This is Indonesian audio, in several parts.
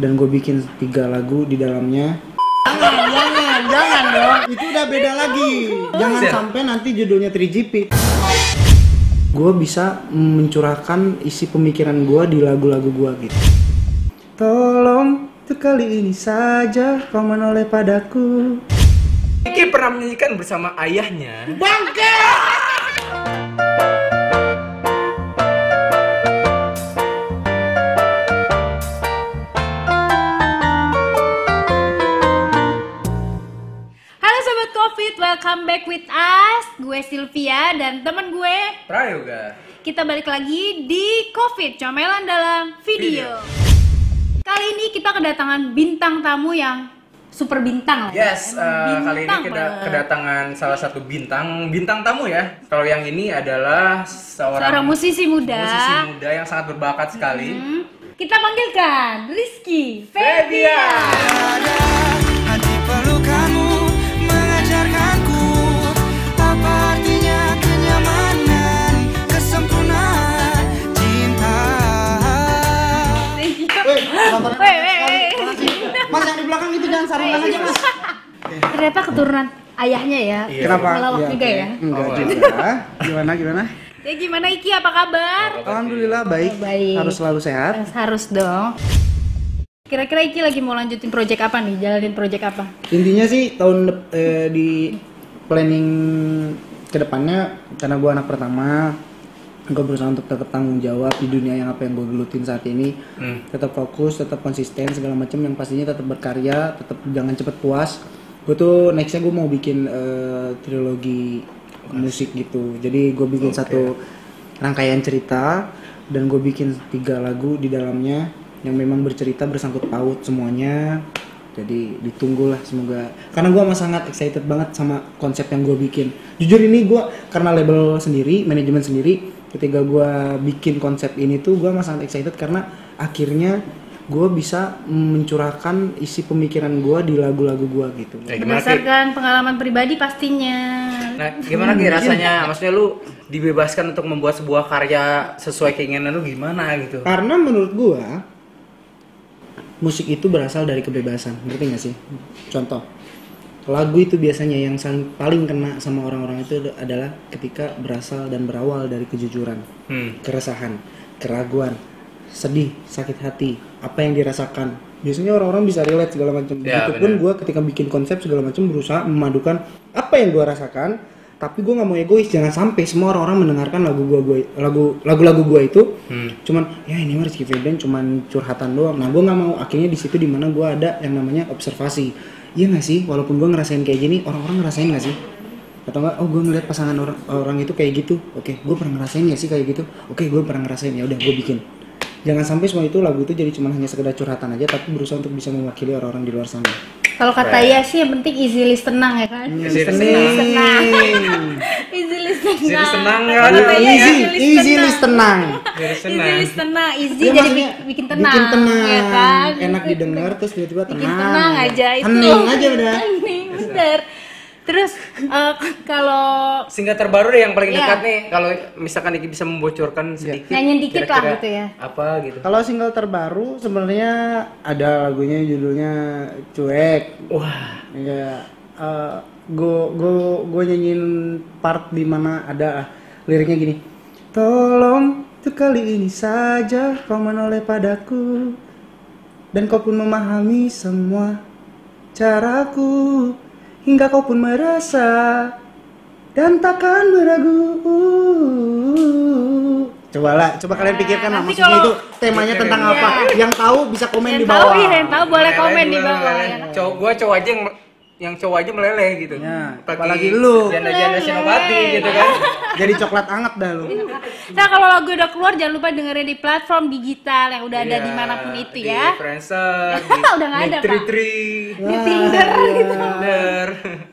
dan gue bikin tiga lagu di dalamnya jangan jangan jangan dong itu udah beda lagi jangan Siap. sampai nanti judulnya 3GP gue bisa mencurahkan isi pemikiran gue di lagu-lagu gue gitu tolong untuk kali ini saja kau menoleh padaku Iki pernah menyanyikan bersama ayahnya. bangke Halo Sobat Covid, welcome back with us Gue Sylvia dan temen gue Prayoga. Kita balik lagi di Covid, comelan dalam video, Kali ini kita kedatangan bintang tamu yang super bintang lah ya. Yes, Emang eh, kali ini bintang kita banget. kedatangan salah satu bintang bintang tamu ya. Kalau yang ini adalah seorang, Seorang musisi muda musisi muda yang sangat berbakat sekali. Hmm, Kita panggilkan Rizky Febian. Febian Hati pelukanmu mengajarkanku apa artinya kenyamanan, kesempurnaan, cinta. Weh, nonton Weh, weh, weh. mas yang di belakang itu jangan saringan aja mas Ternyata keturunan ayahnya ya Iya. kenapa Melawak juga ya? enggak Oh, juga gimana gimana Ya gimana Iki, apa kabar? alhamdulillah baik. Baik. harus selalu sehat Harus, harus dong. Kira-kira Iki lagi mau lanjutin project apa nih? Jalanin project apa? intinya sih tahun dep- eh, di planning kedepannya karena gue anak pertama gue berusaha untuk tetap tanggung jawab di dunia yang apa yang gue gelutin saat ini Hmm. tetap fokus tetap konsisten segala macam yang pastinya tetap berkarya tetap jangan cepet puas gue tuh nextnya gue mau bikin eh, trilogi musik gitu jadi gue bikin satu rangkaian cerita dan gue bikin tiga lagu di dalamnya yang memang bercerita bersangkut paut semuanya jadi ditunggulah semoga karena gue amat sangat excited banget sama konsep yang gue bikin jujur ini gue karena label sendiri manajemen sendiri ketika gue bikin konsep ini tuh gue amat sangat excited karena akhirnya gue bisa mencurahkan isi pemikiran gue di lagu-lagu gue gitu Ya, gimana Ki? Berdasarkan pengalaman pribadi pastinya. Nah, gimana Hmm. Ki rasanya? Maksudnya lu dibebaskan untuk membuat sebuah karya sesuai keinginan lu gimana gitu? Karena menurut gua musik itu berasal dari kebebasan, ngerti gak sih? Contoh, lagu itu biasanya yang sang- paling kena sama orang-orang itu ad- adalah ketika berasal dan berawal dari kejujuran, Hmm. keresahan, keraguan, sedih, sakit hati, apa yang dirasakan. Biasanya orang-orang bisa relate segala macam. gitu. Ya, Begitupun gua ketika bikin konsep segala macam berusaha memadukan apa yang gua rasakan, tapi gua nggak mau egois. Jangan sampai semua orang-orang mendengarkan lagu gua, gua lagu lagu-lagu gua itu Hmm. cuman ya ini mah Rizky Febian cuman curhatan doang nah gue nggak mau akhirnya di situ dimana gue ada yang namanya observasi iya nggak sih walaupun gue ngerasain kayak gini orang-orang ngerasain nggak sih atau enggak oh gue ngeliat pasangan orang orang itu kayak gitu oke gue pernah ngerasain nggak sih kayak gitu oke gue pernah ngerasain ya udah gue bikin jangan sampai semua itu lagu itu jadi cuman hanya sekedar curhatan aja tapi berusaha untuk bisa mewakili orang-orang di luar sana Kalau kata ya sih yang penting easy listening ya kan? Hmm. Easy listening Easy listening. Jadi senang kan? Kata ya. Iya, easy easy easy listening. listening Jadi Easy senang. listening, easy Iya, jadi maksudnya bi- bikin tenang, bikin tenang, ya kan? enak didengar terus tiba-tiba tenang, ya. Bikin tenang aja itu. Hening aja udah. Hening, bener. Terus eh, kalau Singkat terbaru deh yang paling Iya. dekat nih. Kalau misalkan Iki bisa membocorkan sedikit. Nyanyiin dikit lah kira-kira gitu ya. Apa gitu? Kalau single terbaru sebenarnya ada lagunya judulnya cuek. Wah, Ya, eh, gue gue gue nyanyiin part di mana ada ah, liriknya gini. Tolong tuh kali ini saja kau menoleh padaku dan kau pun memahami semua caraku hingga kau pun merasa dan takkan beragu. Coba lah, coba kalian pikirkan lah Nah, nanti maksudnya kalau- Iya. itu temanya tentang apa. Yang tahu bisa komen yang di tahu bawah. iya, yang tahu boleh meleleh komen di juga, bawah. meleleh. ya kan? Cowok gua cowok aja yang yang cowok aja meleleh gitu. Ya, apalagi lu. Janda-janda Meleleh. Senopati gitu kan. Jadi coklat anget dah lu. Nah kalau lagu udah keluar jangan lupa dengerin di platform digital yang udah ada Iya, dimanapun itu di ya. Friendster, di Udah nggak ada, Pak. Tri Tri, Di Tinder Iya. gitu. Tinder.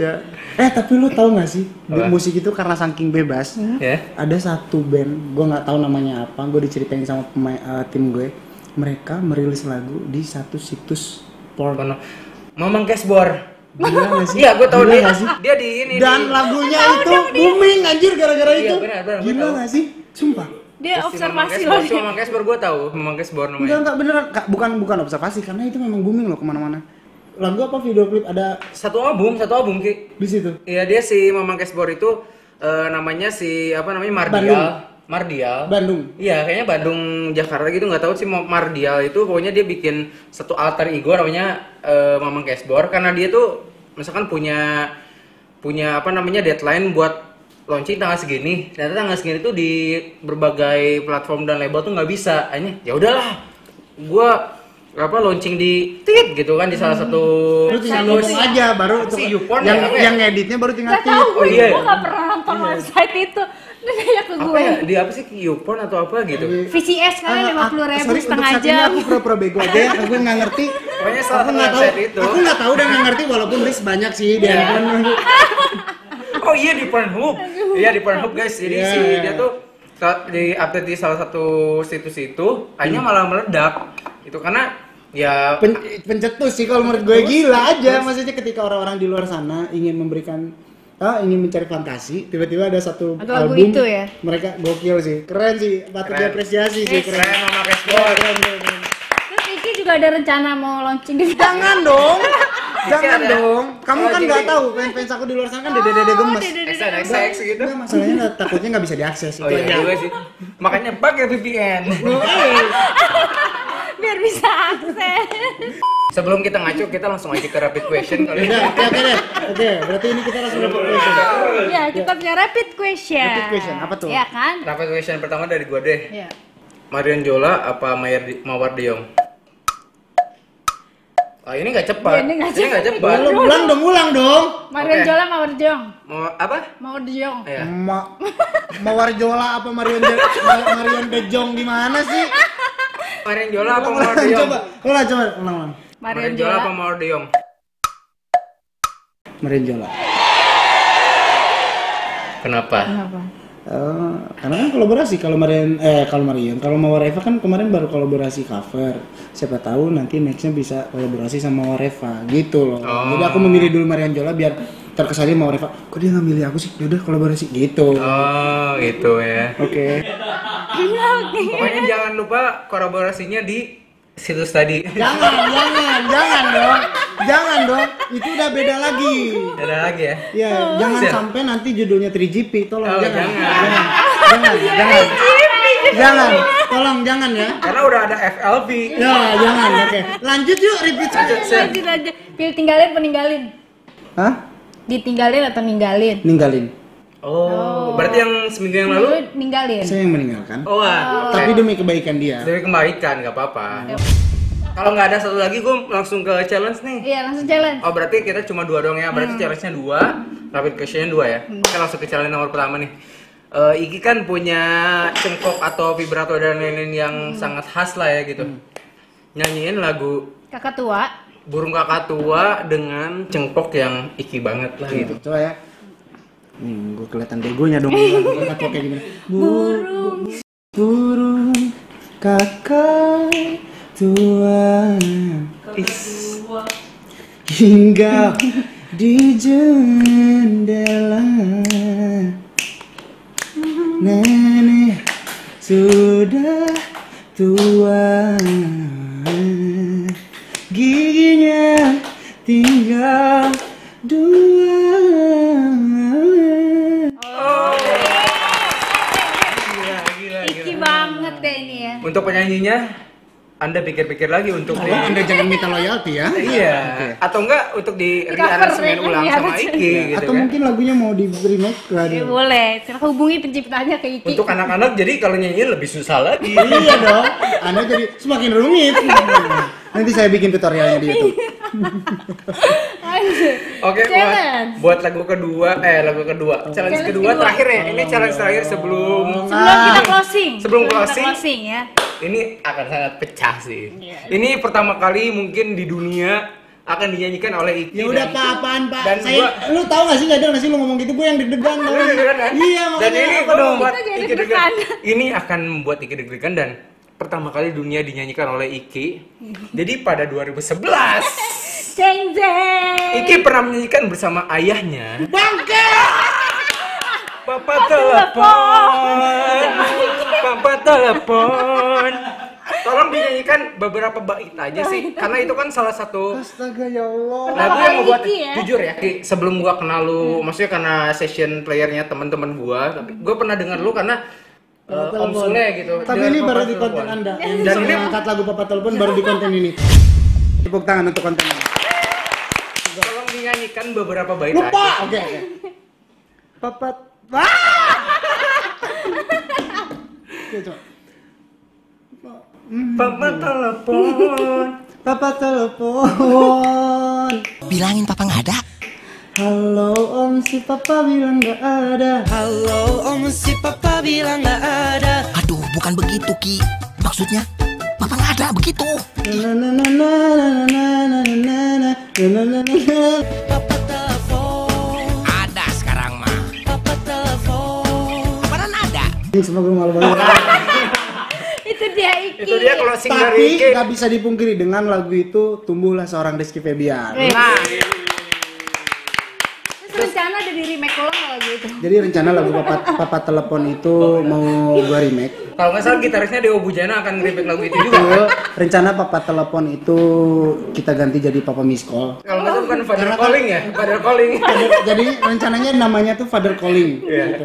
Ya. Eh tapi lu tahu nggak sih di musik itu karena saking bebas Ya. ada satu band gue nggak tahu namanya apa gue diceritain sama pemain- eh, tim gue mereka merilis lagu di satu situs porn Kono. Mamang Cashbor. Gila nggak sih? Iya, gue tau Gila dia. nggak sih? Dia di ini. Dan di- lagunya itu booming anjir gara-gara Iya, itu. benar, benar, gua Gila tahu. nggak sih? Sumpah. Dia si Mamang observasi Casper, loh. Si Mamang Casper gue tau. Mamang Casper Enggak, namanya. enggak beneran. Kak, bukan bukan observasi karena itu memang booming loh kemana-mana. Lagu apa video klip ada Satu album, satu album ki. di situ? Iya dia si Mamang Casper itu eh, namanya si apa namanya Mardial. Bandung. Mardial. Bandung. Iya, kayaknya Bandung Jakarta gitu nggak tahu sih Mo- Mardial itu pokoknya dia bikin satu alter ego namanya eh, Mamang Cashbor karena dia tuh misalkan punya punya apa namanya deadline buat launching tanggal segini. Ternyata tanggal segini tuh di berbagai platform dan label tuh nggak bisa. Akhirnya ya udahlah. Gua apa launching di tit gitu kan di salah satu Lu tinggal ngomong aja baru kan. Si Youporn yang ya, apa ya? yang editnya baru tinggal Gak tau Oh, gue, iya, gue iya. gak pernah nonton website itu Dia nanya apa ke gue ya? Di apa sih YouPorn atau apa Iya. gitu. VCS kalian lima puluh ribu Ah, sorry, setengah untuk saat ini jam Aku pura-pura bego aja ya, aku nggak ngerti. Pokoknya aku salah satu nggak tahu. website itu. Iya. Aku nggak tahu dan nggak ngerti walaupun list banyak sih dia. Oh iya di Pornhub. Iya di Pornhub guys. Jadi Iya. si dia tuh saat di update di salah satu situs itu, akhirnya malah meledak. Itu karena ya Pen- pencetus sih kalau menurut gue gila aja maksudnya ketika orang-orang di luar sana ingin memberikan ah, ingin mencari fantasi tiba-tiba ada satu Ada lagu album itu ya? mereka gokil sih keren sih patut Keren. diapresiasi sih keren keren sama Cashboard. Keren, keren, keren. Terus Iki juga ada rencana mau launching di jangan dong jangan ada. dong kamu Oh, kan jadi- nggak tahu fans fans aku di luar sana kan dede dede Oh, gemes Exen, exen, exen gitu. Nggak, masalahnya nggak- takutnya nggak bisa diakses Oh itu iya aja. juga sih. Makanya pakai VPN. Biar bisa akses Sebelum kita ngaco, kita langsung aja ke rapid question kali. ya. Udah, oke oke deh. Oke, berarti ini kita langsung dapat question. Ya kita punya rapid question Iya. Rapid question, apa tuh? Ya kan? Rapid question pertama dari gua deh. Ya. Marion Jola apa Mayer Di- Mawar Diong? Ah ini nggak cepat. Iya, Ini nggak nggak cepat. Belum ulang dong, ulang dong. Marion Oke. Jola mau Jong Mau apa? Mau Jong Ya. Ma Mawarjola apa Marion De Ma- Marion De Jong di mana sih? Marion Jola apa Mawar Ulang, Diong? coba, ulang coba, ulang ulang. Marion Jola apa Jola Mawar Diong? Marion Jola. Kenapa? Kenapa? Eh, karena kan kolaborasi kalau Marion eh kalau Marion kalau Mawar Eva kan kemarin baru kolaborasi cover siapa tahu nanti nextnya bisa kolaborasi sama Mawar Eva gitu loh jadi aku memilih dulu Marion Jola biar terkesannya Mawar Eva kok dia nggak milih aku sih yaudah kolaborasi gitu oke Oh gitu ya. Pokoknya jangan lupa kolaborasinya di situs tadi. Jangan, jangan, jangan dong. Jangan dong. Itu udah beda lagi. Ada lagi ya. Ya, jangan sampai nanti judulnya 3GP. Tolong Oh, jangan. jangan. Jangan. Jangan, jangan. Jangan. Tolong jangan ya. Karena udah ada FLV. Ya, jangan. Oke. Lanjut yuk repeat. Sen. Lanjut aja Pilih tinggalin apa ninggalin? Hah? Ditinggalin atau ninggalin? Ninggalin. Oh, berarti yang seminggu yang lalu? Dulu ninggalin Saya yang meninggalkan. Oh, wah. Tapi demi kebaikan dia. Dari kebaikan nggak apa-apa. Kalau nggak ada satu lagi, gue langsung ke challenge nih. Iya langsung jalan Oh berarti kita cuma dua dong ya, Hmm. berarti challenge-nya dua, rapid question-nya dua ya. Kita langsung ke challenge nomor pertama nih. Eh, Iki kan punya cengkok atau vibrato dan lain-lain yang Hmm. sangat khas lah ya gitu. Nyanyiin lagu Kakak tua burung kakak tua dengan cengkok yang Iki banget lah gitu. Coba ya. Hmm, gue kelihatan begonya dong. Gue pakai kayak gimana. Burung Burung kakak tua hingga di jendela nenek sudah tua giginya tinggal dua Gila, gila, Iki banget deh ini ya Hmm. Untuk penyanyinya, anda pikir-pikir lagi untuk di- Tolong anda jangan minta loyalty ya. Iya. Atau enggak untuk di Di cover, rearrangement ya, ulang sama rearrangement. Iki gitu Atau kan. mungkin lagunya mau di remake lagi. Ya boleh, silahkan hubungi penciptanya ke Iki Untuk anak-anak jadi kalau nyanyiin lebih susah lagi. iya dong. Anda jadi semakin rumit. Nanti saya bikin tutorialnya di YouTube. Lanjut. Oke, Challenge. buat, buat lagu kedua, eh lagu kedua, challenge, Challenge kedua, kedua. terakhir ya. Oh, Ini challenge terakhir iya. sebelum Sebelum kita closing Sebelum kita closing. closing ya ini akan sangat pecah sih. Ini pertama kali mungkin di dunia akan dinyanyikan oleh Iki. Ya udah dan- pak, apaan pak? Dan saya, lu tau gak sih nggak ada nggak sih lu ngomong gitu gue yang deg-degan tau. Lu deg-degan kan? Iya Dan makanya ini apa dong? membuat Kita jadi Iki deg-degan. deg-degan. Ini akan membuat Iki deg-degan dan pertama kali dunia dinyanyikan oleh Iki. Jadi pada 2011. Zeng zeng. Iki pernah menyanyikan bersama ayahnya. Bangke! Papa telepon. Papa telepon. Tolong dinyanyikan beberapa bait aja Oh, sih, iya. karena itu kan salah satu Astaga ya Allah. lagu yang membuat Iki ya? jujur ya. Ki, Sebelum gua kenal lu, Hmm. maksudnya karena session playernya teman-teman gua, tapi gua pernah dengar lu karena Papa eh, Om Telepon. Sule gitu. Tapi Dengan ini Papa baru di Telepon. konten Anda. Yang Dan bisa ini- mengangkat lagu Papa Telepon baru di konten ini. Tepuk tangan untuk konten. ini. Tolong dinyanyikan beberapa bait Lupa. aja. Oke. oke. Papa. Ah! Oke, coba. Papa telepon. Papa telepon. Bilangin papa nggak ada. Halo Om, si Papa bilang gak ada. Halo om si papa bilang gak ada Aduh, bukan begitu Ki. Maksudnya papa nggak ada begitu. Na na na na na na na na na na na na na. Papa telepon Ada sekarang mah. Papa telepon Apaan ada? Ini semua gue malu banget. Itu dia Iki. Itu dia closing dari Tapi Iki. nggak bisa dipungkiri dengan lagu itu tumbuhlah seorang Rizky Febian. Eh, Nah, Terus rencana ada di remake ulang gitu. nggak lagu itu. Jadi rencana lagu Papa, Papa Telepon itu mau gue remake. kalau nggak salah gitarisnya Dewa Bujana akan ngeripik lagu itu juga. Itu rencana Papa Telepon itu kita ganti jadi Papa Miss Call. Kalau nggak salah bukan Father kan Calling ya, Father Calling. Jadi rencananya namanya tuh Father Calling. gitu.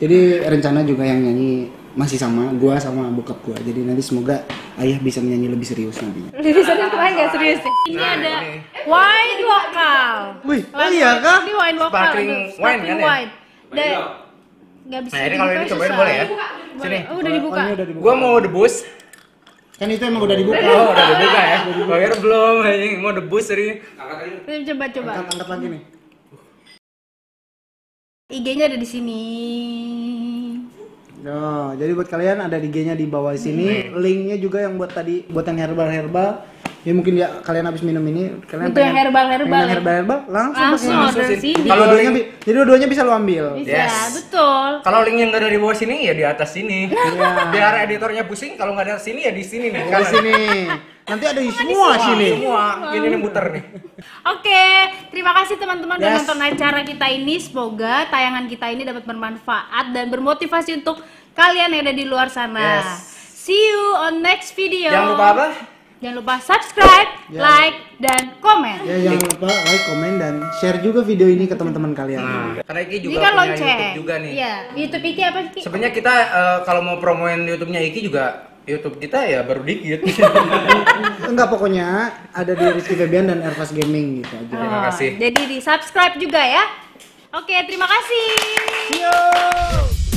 Jadi rencana juga yang nyanyi masih sama gua sama bokap gua. Jadi nanti semoga ayah bisa menyanyi lebih serius nantinya. Jadi serius kemarin nggak serius ya? Ini Nah, ada ini. wine lokal. Wih, oh Lagu- iya kah? Ini wine lokal. Sparkling aduh, wine sparkling kan ya? wine. Dan nggak bisa. Nah, ini kalau ini dibuka, cobain susah. boleh ya? Dibuka, Sini. boleh. Oh, udah dibuka. Ini udah dibuka. Gua mau debus. Kan itu emang udah dibuka. Oh, udah dibuka ya. Bayar belum anjing. mau debus seri. Coba coba. Angkat, angkat lagi nih. IG-nya ada di sini. Oh, jadi buat kalian ada IG-nya di bawah sini, linknya juga yang buat tadi buat yang herbal herbal. Ya mungkin ya kalian habis minum ini kalian Untuk yang herbal-herbal ya? herbal herbal langsung pakai. Langsung order Langsung sini. sini. Kalau Kalau dua-duanya link- bi- jadi dua-duanya bisa lo ambil. Bisa, Yes. betul. Kalau link yang nggak ada di bawah sini ya di atas sini. Biar editornya pusing kalau nggak ada sini ya di sini nih. Iya. Di sini. Nanti ada di semua sini. Semua ini nih muter nih. Oke, terima kasih teman-teman udah Yes. nonton acara kita ini. Semoga tayangan kita ini dapat bermanfaat dan bermotivasi untuk kalian yang ada di luar sana. Yes. See you on next video. Jangan lupa apa? Jangan lupa subscribe, Jangan- like, dan komen. Ya jangan lupa like, komen dan share juga video ini ke teman-teman kalian. Nah, karena Iki Ini juga kan punya lonceng. YouTube juga nih. Iya, YouTube Iki apa Ki? Sebenarnya kita eh, kalau mau promoin YouTube-nya Iki juga YouTube kita ya baru dikit. Enggak pokoknya ada di Rizky Febian dan Ervas Gaming gitu aja. Oh, Terima kasih. Jadi di subscribe juga ya. Oke, terima kasih. Yo.